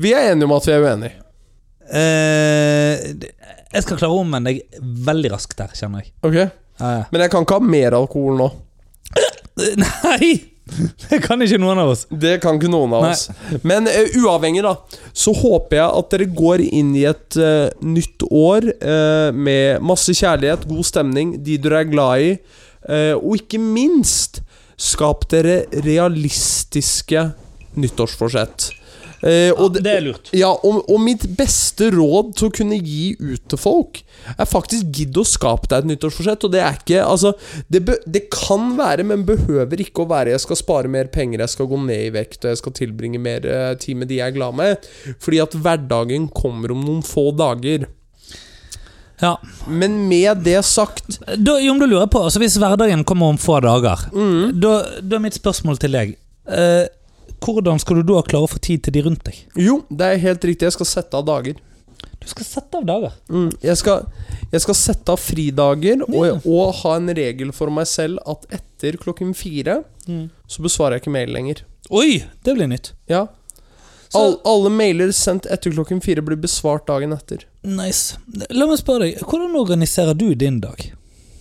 Vi er enige om at vi er uenige. Eh, det- jeg skal klare å omvende deg veldig raskt der, kjenner jeg. Ok? Eh, Men jeg kan ikke ha mer alkohol nå. nei! Det kan ikke noen av oss. Det kan ikke noen av Nei. oss. Men eh, uavhengig, da, så håper jeg at dere går inn i et eh, nytt år eh, med masse kjærlighet, god stemning, de dere er glad i, eh, og ikke minst skap dere realistiske nyttårsforsett. Eh, og det- Det er lurt. ja, og, og mitt beste råd til å kunne gi ut til folk, er faktisk gidd å skape deg et nyttårsforsett. Og det er ikke Altså, det, bø- det kan være, men behøver ikke å være 'jeg skal spare mer penger', 'jeg skal gå ned i vekt', og 'jeg skal tilbringe mer eh, tid med de jeg er glad med'. Fordi at hverdagen kommer om noen få dager. Ja. Men med det sagt Da, jo, men da lurer jeg på, altså Hvis hverdagen kommer om få dager, da, da er mitt spørsmål til deg eh, Hvordan skal du da klare å få tid til de rundt deg? Jo, det er helt riktig, jeg skal sette av dager. Du skal sette av dager. Mm, jeg, skal, jeg skal sette av fridager og, og ha en regel for meg selv at etter klokken fire Mm. så besvarer jeg ikke mail lenger. Oi! Det blir nytt. Ja. Så- All, alle mailer sendt etter klokken fire blir besvart dagen etter. Nice. La meg spørre deg, hvordan organiserer du din dag?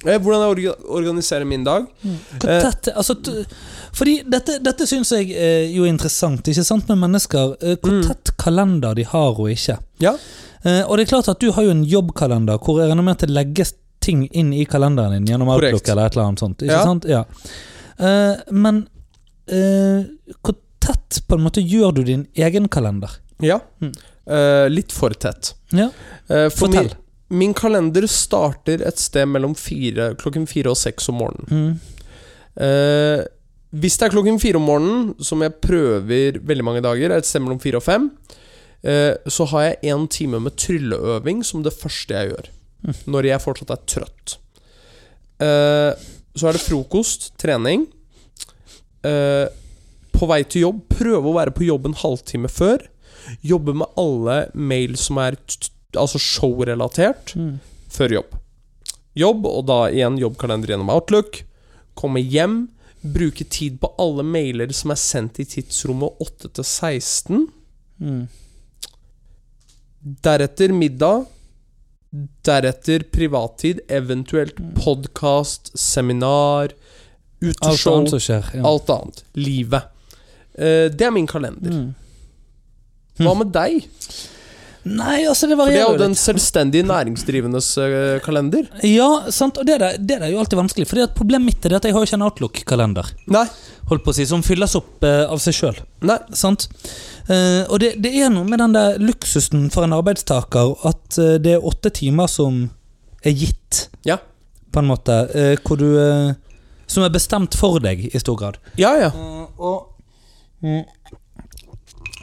Eh, Hvordan jeg orga- organiserer min dag? Hvor Eh. tett altså, t- Fordi dette, dette syns jeg eh, jo er interessant, ikke sant, med mennesker. Eh, hvor Mm. tett kalender de har og ikke. Ja. Eh, og det er klart at du har jo en jobbkalender hvor jeg regner med at det legges ting inn i kalenderen din gjennom Korrekt. Outlook eller et eller annet sånt. Ikke Ja. sant? Ja. Eh, men eh, hvor tett på en måte gjør du din egen kalender? ja. Mm. Eh, litt for tett. Ja. Eh, for Fortell. Min, min kalender starter et sted mellom fire, klokken fire og seks om morgenen. Mm. Eh, hvis det er klokken fire om morgenen, som jeg prøver veldig mange dager, er et sted mellom fire og fem, eh, så har jeg én time med trylleøving som det første jeg gjør. Mhm. Når jeg fortsatt er trøtt. Eh, så er det frokost, trening. Eh, på vei til jobb, prøve å være på jobb en halvtime før. Jobbe med alle mail som er t- t- altså showrelatert Mm. før jobb. Jobb, og da igjen jobbkalender gjennom Outlook. Komme hjem, bruke tid på alle mailer som er sendt i tidsrommet 8 til 16. Mm. Deretter middag. Deretter privattid, eventuelt podkast, seminar, Alt uteshow, annet som skjer. Ja. alt annet. Livet. Eh, Det er min kalender. Mm. Hva med deg? Nei, altså, det For det er jo varierer jo den selvstendige næringsdrivendes eh, kalender. Ja, sant, og det der, det der er jo alltid vanskelig. Fordi at Problemet mitt er det at jeg har jo ikke en Outlook-kalender Nei. Holdt på å si, som fylles opp eh, av seg sjøl. Nei. og det, det er noe med den der luksusen for en arbeidstaker at eh, det er åtte timer som er gitt, Ja. på en måte. eh, hvor du eh, Som er bestemt for deg, i stor grad. Ja, ja. og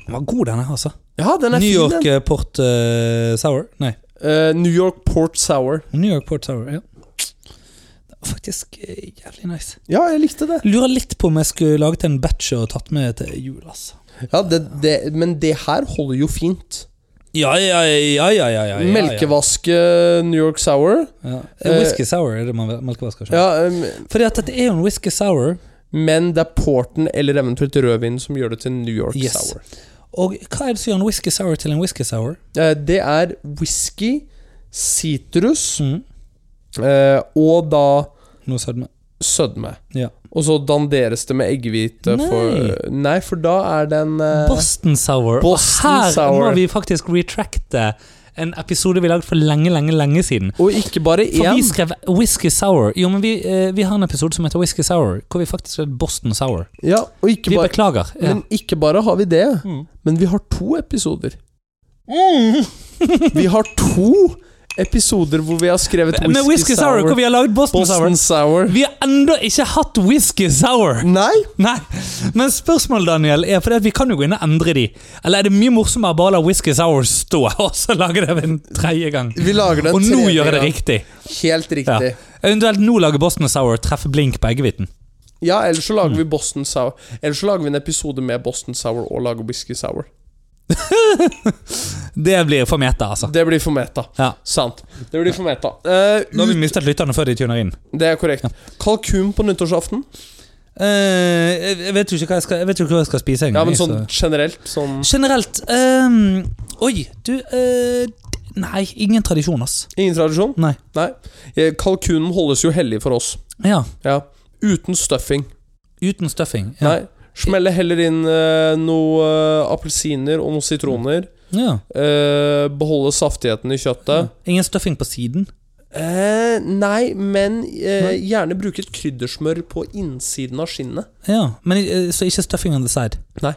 Den var god, den her, altså. ja den er New fin, den. York eh, Port eh, Sour. Nei. Eh, New York Port Sour. New York Port Sour, ja. Det var faktisk eh, jævlig nice. Ja, jeg likte det. Lurer litt på om jeg skulle laget en batch og tatt med til jul, altså. Ja, det, det men det her holder jo fint. Ja, ja, ja, ja, ja, ja, ja. Melkevaske New York Sour. Ja. Eh, Whisky sour er det man melkevasker. Ja. Ja, em, Fordi at dette er jo en whisky sour, men det er porten eller eventuelt rødvin som gjør det til New York Yes. Sour. og hva er det som gjør en whisky sour til en whisky sour? Eh, det er whisky, sitrus Mm. eh, og da Nå sødme. sødme. Ja. Og så danderes det med eggehvite Nei. for Nei, for da er den eh, Boston sour. Boston og her sour. må vi faktisk retracte en episode vi lagde for lenge, lenge, lenge siden. Og ikke bare For vi én. skrev whisky sour. Jo, men vi, eh, vi har en episode som heter whisky sour, hvor vi faktisk skrev Boston sour. Ja, og ikke Vi bare, beklager. Ja. Mm. men ikke bare har vi det, men vi har to episoder. Vi har to episoder hvor vi har skrevet Med whisky, sour, hvor vi har lagd Boston, Boston Sour. sour. Vi har ennå ikke hatt whisky sour! Nei! Nei, Men spørsmålet Daniel, er fordi at vi kan jo gå inn og endre de. Eller er det mye morsommere bare å la whisky sour stå, og så lage det en tredje gang? Vi lager den Og nå tredje gjør jeg det gang. riktig. Helt riktig. Ja. Eventuelt nå lager Boston sour treffe blink på eggehviten. ellers så Mm. lager vi Boston Sour Ellers så lager vi en episode med Boston Sour og lager whisky sour. Det blir for meta, altså. Det blir for meta. Ja. Sant. Det blir for meta. Eh, Nå har vi mistet lytterne før de tuner inn. ut- det er korrekt. Kalkun på nyttårsaften. Eh, jeg jeg vet jo ikke hva jeg skal, jeg vet jo ikke hva jeg skal spise. Ja, men egentlig, sånn så- generelt. Sånn Generelt ehm, Oi, du eh, Nei, ingen tradisjon, ass. Ingen tradisjon? Nei. Nei. Eh, Kalkunen holdes jo hellig for oss. Ja, Ja. Uten stuffing. Uten stuffing. Ja. Nei. Smelle heller inn eh, noe eh, appelsiner og noen sitroner. Ja. Eh, beholde saftigheten i kjøttet. Ingen stuffing på siden. Eh, nei, men eh, gjerne bruke et kryddersmør på innsiden av skinnet. Ja, men eh, Så ikke stuffing on the side? Nei.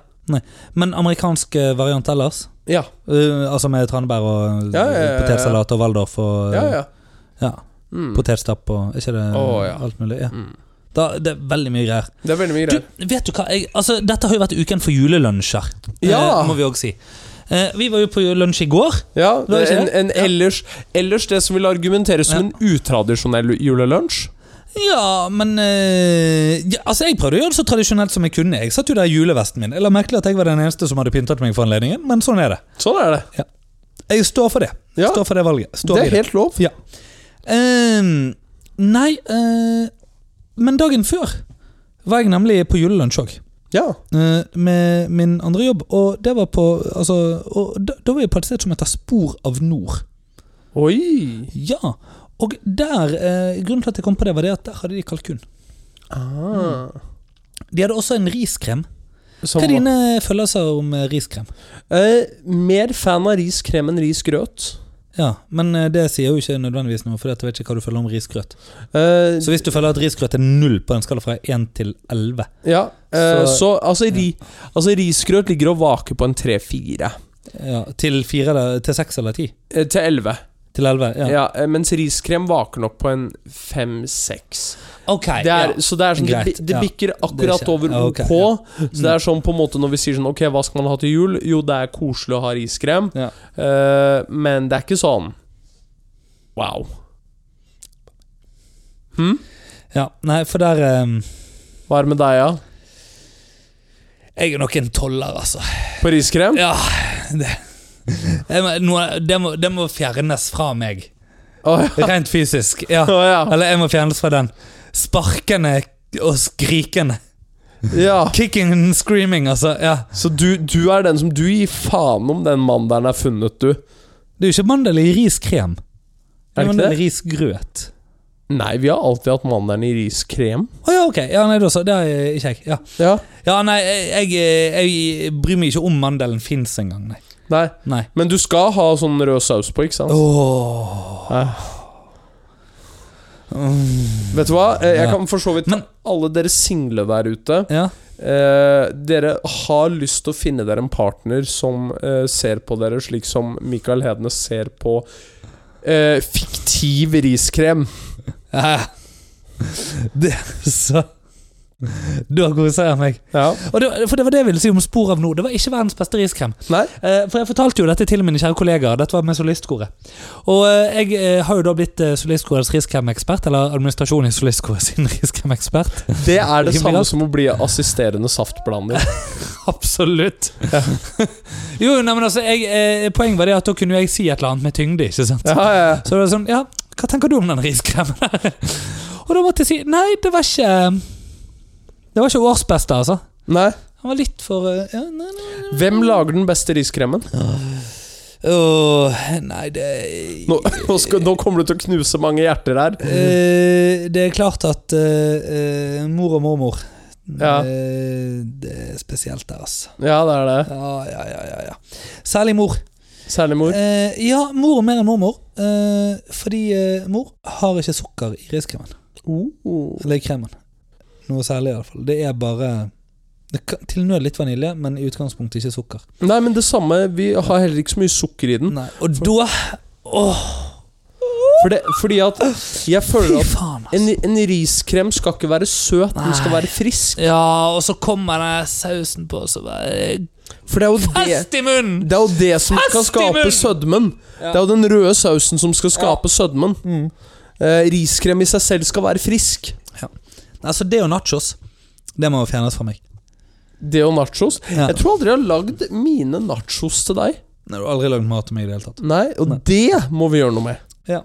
Men amerikansk eh, variant ellers? Ja, Eh, altså med tranebær og Ja, ja, ja, ja. potetsalat og Waldorf og eh, ja, ja. ja, Mm. potetstapp og ikke det Å, ja. alt mulig? Ja. Mm. Da, det er veldig mye greier. Det er veldig mye Du, greier. vet du hva? Jeg, altså, dette har jo vært uken for julelunsjer, eh, Ja. må vi òg si. Eh, vi var jo på lunsj i går. Ja, var ikke en, det? en ellers, ellers det som vil argumentere som Ja. en utradisjonell julelunsj. Ja, men eh, ja, Altså, jeg prøvde å gjøre det så tradisjonelt som jeg kunne. Jeg satt jo der i julevesten min. Jeg la merke til at jeg var den eneste som hadde pyntet meg for anledningen, men sånn er det. Sånn er det. Jeg står for det. Ja. Står for det valget. Står det i er helt lov. Ja. Ehm, nei eh, Men dagen før var jeg nemlig på julelunsj òg. Ja. eh, med min andre jobb, og det var på altså, og da, da var jeg på et sted som heter Spor av Nord. Oi! Ja, og der eh, Grunnen til at jeg kom på det, var det at der hadde de kalkun. Ah. De hadde også en riskrem. Som Hva er var- dine følelser om eh, riskrem? Eh, mer fan av riskrem enn risgrøt. Ja, Men eh, det sier jo ikke nødvendigvis noe, for jeg vet ikke hva du føler om risgrøt. Eh, Så hvis du føler at risgrøt er null på en skala fra 1 til 11 ja, eh, så- så altså, ri, altså risgrøt ligger og vaker på en 3-4. ja, Til 4 eller til 6 eller 10? Eh, til 11. Til 11, Ja. ja. eh, mens riskrem vaker nok på en 5-6. Ok, Det er, ja. Så det er sånn, det, Greit, bi- det ja. bikker akkurat Det er ikke- over ja, ok, OK. Så det er sånn på en måte når vi sier sånn Ok, hva skal man ha til jul? Jo, det er koselig å ha riskrem, Ja. eh, men det er ikke sånn Wow. Hm? ja. Nei, for der eh, Hva er det med deg, da? Ja? Jeg er nok en toller, altså. På riskrem? Ja, det, jeg må, noe- det, må, det må fjernes fra meg. Å ja. Rent fysisk. Ja. Å, ja. Eller jeg må fjernes fra den. Sparkende og skrikende. ja. Kicking and screaming, altså. Ja. Så du, du er den som Du gir faen om den mandelen er funnet, du. Det er jo ikke mandel i riskrem. Er det ikke mandel det? i risgrøt. Nei, vi har alltid hatt mandelen i riskrem. Å ja, ok. Ja, nei, da så. Det er ikke jeg. Ja, Ja. ja nei, jeg, jeg, jeg bryr meg ikke om mandelen fins engang, nei. Nei. nei. Men du skal ha sånn rød saus på, ikke sant? Åh. Eh, Mm. vet du hva? Eh, Jeg Ja. kan for så vidt Men- Alle dere single der ute Ja. eh, Dere har lyst til å finne dere en partner som eh, ser på dere slik som Mikael Hednes ser på eh, fiktiv riskrem. ja. Det, så Da koser jeg meg. Ja. Og det, for det var det jeg ville si om Spor av Nord. Det var ikke verdens beste riskrem. Nei? Eh, for jeg fortalte jo dette til mine kjære kollegaer. Dette var med solistkoret. Og eh, jeg eh, har jo da blitt eh, solistkorets riskremekspert, eller administrasjonen i solistkoret sin riskremekspert. Det er det Rimelig samme godt. som å bli assisterende saftblander. Absolutt. jo, nei, men altså, jeg, eh, poenget var det at da kunne jo jeg si et eller annet med tyngde, ikke sant? Ja, ja, ja. Så det var sånn, ja, hva tenker du om den riskremen der? Og da måtte jeg si, nei, det var ikke Det var ikke årsbeste, altså. Nei. Han var litt for eh, ja, nei, nei. Hvem lager den beste riskremen? Åh, nei, det Nå, nå, skal, nå kommer du til å knuse mange hjerter her. Eh, det er klart at eh, eh, mor og mormor Ja. eh, Det er spesielt der, altså. Ja, det er det. Ja, ja, ja, ja, ja. Særlig mor. Særlig mor. Eh, ja, mor mer enn mormor. eh, fordi eh, mor har ikke sukker i riskremen. Oh. Eller i kremen. Noe særlig, iallfall. Det er bare det kan, Til nød litt vanilje, men i utgangspunktet ikke sukker. Nei, men det samme. Vi har heller ikke så mye sukker i den. Nei, Og da Åh, For det, fordi at jeg føler fy at faen, altså. en, en riskrem skal ikke være søt, den skal Nei. være frisk. Ja, og så kommer den sausen på, og så bare For det er jo det Fest i munnen! det er jo det som skal Fast i skape munnen! sødmen. Ja. Mm. Det er jo den røde sausen som skal skape sødmen. Eh, riskrem i seg selv skal være frisk. Altså, det og nachos, det må fjernes fra meg. Det og nachos. Ja. Jeg tror aldri jeg har lagd mine nachos til deg. Nei, du har aldri lagd mat til meg i det hele tatt. Nei, og Nei. det må vi gjøre noe med.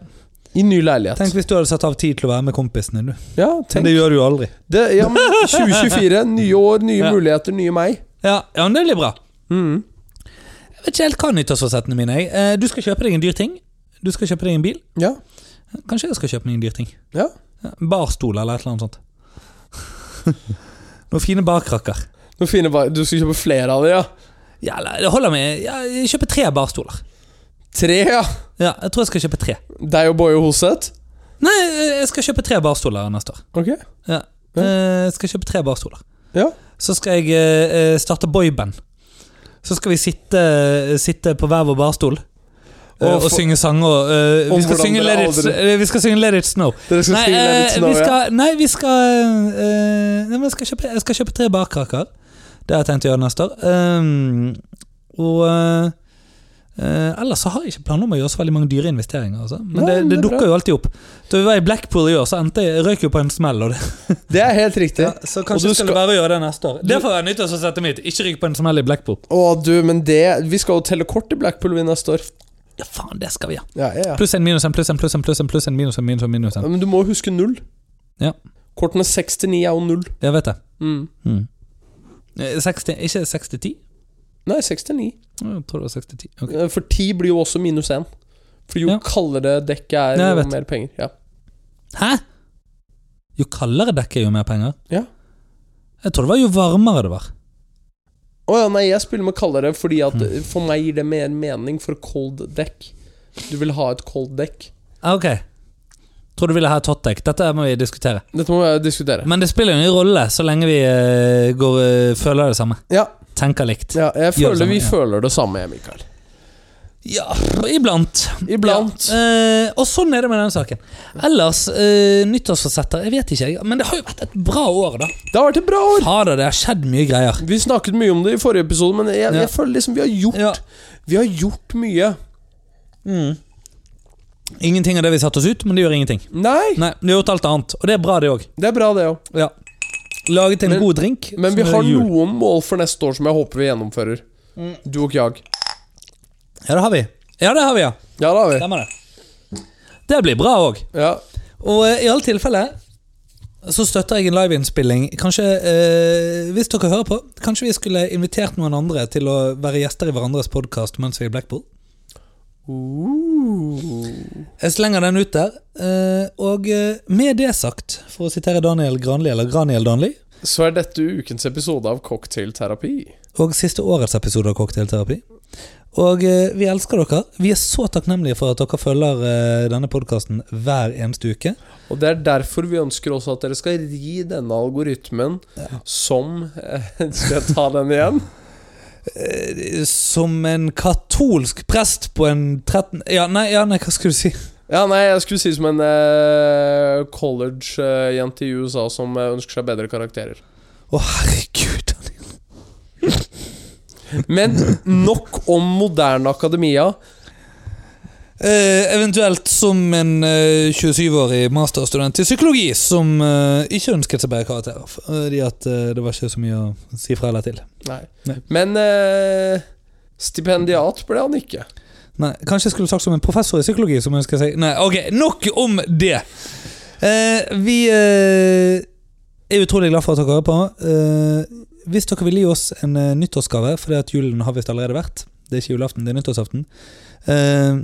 I ny leilighet. Tenk hvis du hadde satt av tid til å være med kompisene din, du. Ja, Men det tenk. gjør du jo aldri. Det, ja, men 2024, nye år, nye Ja. muligheter, nye meg. Ja, ja men det blir bra. Mm. Jeg vet ikke helt hva nyttårsforsettene mine er. Eh, Du skal kjøpe deg en dyr ting. Du skal kjøpe deg en bil. Ja. Kanskje jeg skal kjøpe meg en dyr ting. ja. Ja, Barstol eller et eller annet sånt. Noen fine barkrakker. Nå finner jeg bare, du skal kjøpe flere av det, ja? Ja, eller det holder med ja, jeg kjøper tre barstoler. Tre, ja. Ja, jeg tror jeg skal kjøpe tre. Deg og Boje Hoseth? Nei, eh, jeg skal kjøpe tre barstoler neste år. Ok. Ja. Eh, Jeg skal kjøpe tre barstoler. Ja. Så skal jeg eh, eh, starte boyband. Så skal vi sitte, eh, sitte på hver vår barstol eh, Og og, for- synge sanger. eh, Om vi, skal hvordan synge dere Let it, aldri- eh, vi skal synge Let It Snow. Dere skal Nei, skrive eh, litt snarere. vi skal, nei, vi skal eh, nei, men jeg, skal kjøpe, jeg skal kjøpe tre barkaker. Det har jeg tenkt å gjøre neste år. Um, og eh, eh, Ellers så har jeg ikke planer om å gjøre så veldig mange dyre investeringer. Altså. Nei, Men det, men det det er bra. dukker jo alltid opp. Da vi var i Blackpool i år, så endte jeg, røyk jo på en smell. Og det, Det er helt riktig. ja, så Og kanskje du skal, det være å gjøre det neste år. Du- Det får være nyttårsforsettet mitt. Ikke ryk på en smell i Blackpool. Å, du, men det Vi skal jo telle kort i Blackpool vi neste år. Ja, faen, det skal vi ha. Ja, ja, ja. Pluss en, minus en, pluss en, pluss en, pluss en, pluss en, minus en, minus en, minus en. Men du må huske null. Ja. Kortene 6 til 9 er jo 0. Jeg vet det. Mm. Eh, 60, ikke 60-10? Nei, 6 til 9. Jeg tror det var 60-10. Ok. Eh, For 10 blir jo også minus 1. For jo Ja. kaldere dekket er, Ja, jeg jo vet. mer penger. Ja. Hæ? Jo kaldere dekket, jo mer penger. Ja. Jeg tror det var jo varmere det var. Å ja, nei, jeg spiller med kaldere fordi at Mm. for meg gir det mer mening for cold dekk. Du vil ha et cold dekk. Ah, Ok. Tror du ville ha et hotdekk. Dette må vi diskutere. Dette må jeg diskutere. Men det spiller jo ingen rolle så lenge vi eh, går, eh, føler det samme. Ja, Tenker likt. ja jeg Gjør føler det samme, vi ja. føler det samme, Mikael. Ja, iblant. Iblant. Ja. Eh, og sånn er det med denne saken. Ellers, eh, nyttårsforsetter Jeg vet ikke, jeg. Men det har jo vært et bra år, da. Det har vært et bra år! Fader, det har skjedd mye greier. Vi snakket mye om det i forrige episode, men jeg, Ja. jeg føler liksom vi har gjort Ja. Vi har gjort mye. Ingenting av det vi satte oss ut, men det gjør ingenting. Nei, Nei, Vi har gjort alt annet, og det er bra, det òg. det er bra, det òg. Ja. Laget en Men- god drink. Men som vi er har jul. Mm. noen mål for neste år som jeg håper vi gjennomfører. Du og jeg. Ja, det har vi. Ja, det har vi, ja. Ja, det har vi. Stemmer det. Det blir bra òg. Ja. Og eh, i alle tilfeller så støtter jeg en liveinnspilling. Kanskje, eh, hvis dere hører på, kanskje vi skulle invitert noen andre til å være gjester i hverandres podkast mens vi er i Blackpool. Uh. Jeg slenger den ut der. eh, og eh, med det sagt, for å sitere Daniel Granli, eller Graniel Danli, Så er dette ukens episode av Cocktailterapi. og siste årets episode av Cocktailterapi. Og eh, vi elsker dere. Vi er så takknemlige for at dere følger eh, denne podkasten hver eneste uke. Og det er derfor vi ønsker også at dere skal ri denne algoritmen som eh, Skal jeg ta den igjen? Eh, Som en katolsk prest på en 13... Ja, nei, ja, nei hva skulle du si? Ja, nei, jeg skulle si som en eh, college-jente i USA som eh, ønsker seg bedre karakterer. Å, herregud. Daniel. Men nok om moderne akademia. Eh, eventuelt som en eh, 27-årig masterstudent i psykologi som eh, ikke ønsket seg bedre karakterer. Fordi at eh, det var ikke så mye å si fra eller til. Nei. Nei. Men eh, stipendiat ble han ikke. Nei, Kanskje jeg skulle sagt som en professor i psykologi. som ønsker seg Nei, ok, Nok om det! Eh, vi eh, er utrolig glad for at dere hører på. Eh, hvis dere vil gi oss en eh, nyttårsgave, for det at julen har visst allerede vært Det er ikke julaften, det er nyttårsaften. Eh,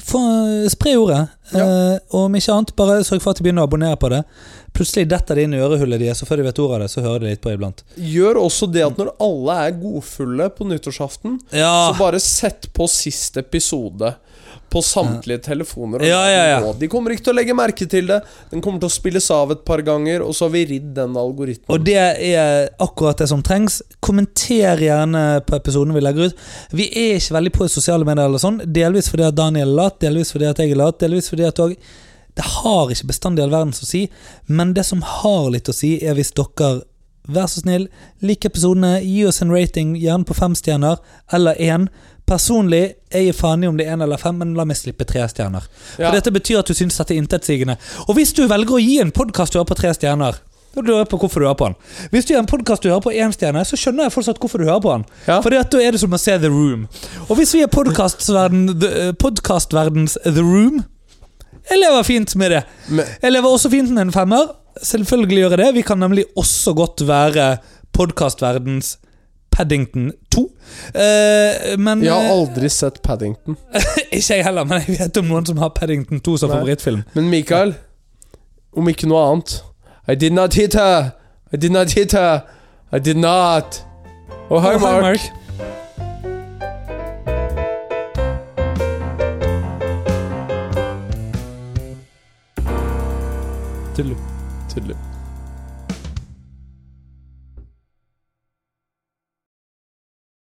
få- spre ordet. Eh, Og om ikke annet, bare sørg for at de begynner å abonnere på det. Plutselig detter det inn i ørehullet deres, og før de vet ordet av det, så hører de litt på iblant. Gjør også det at når alle er godfulle på nyttårsaften, Ja, så bare sett på siste episode på samtlige telefoner. og Ja, ja, ja. radio. De kommer ikke til å legge merke til det. Den kommer til å spilles av et par ganger, og så har vi ridd den algoritmen. Og det er akkurat det som trengs. Kommenter gjerne på episoden vi legger ut. Vi er ikke veldig på i sosiale medier, eller sånn delvis fordi at Daniel er lat, delvis fordi at jeg er lat. delvis fordi at også, Det har ikke bestandig all verdens å si, men det som har litt å si, er hvis dere Vær så snill, lik episodene, gi oss en rating, gjerne på fem stjerner, eller én. Personlig, jeg gir faen i om det er én eller fem, men la meg slippe tre stjerner. Ja. For dette betyr at du syns dette er intetsigende. Og hvis du velger å gi en podkast du hører på tre stjerner, da lurer jeg på hvorfor du hører på den. Hvis du gjør en podkast du hører på én stjerne, så skjønner jeg fortsatt hvorfor du hører på den. Ja. Fordi at da er det som å se The Room. Og hvis vi er podcastverden- the- eh, podcastverdens The Room Jeg lever fint med det. Men- Jeg lever også fint med en femmer. Selvfølgelig gjør jeg det. Vi kan nemlig også godt være podkastverdens Paddington 2. Eh, men Jeg har eh, aldri sett Paddington. Ikke jeg heller, men jeg vet om noen som har Paddington 2 som Nei. favorittfilm. Men Mikael, om ikke noe annet I did not hit her! I did not hit her! I did not! Og hei, Og hei, Mark. Tudelu. Tudelu.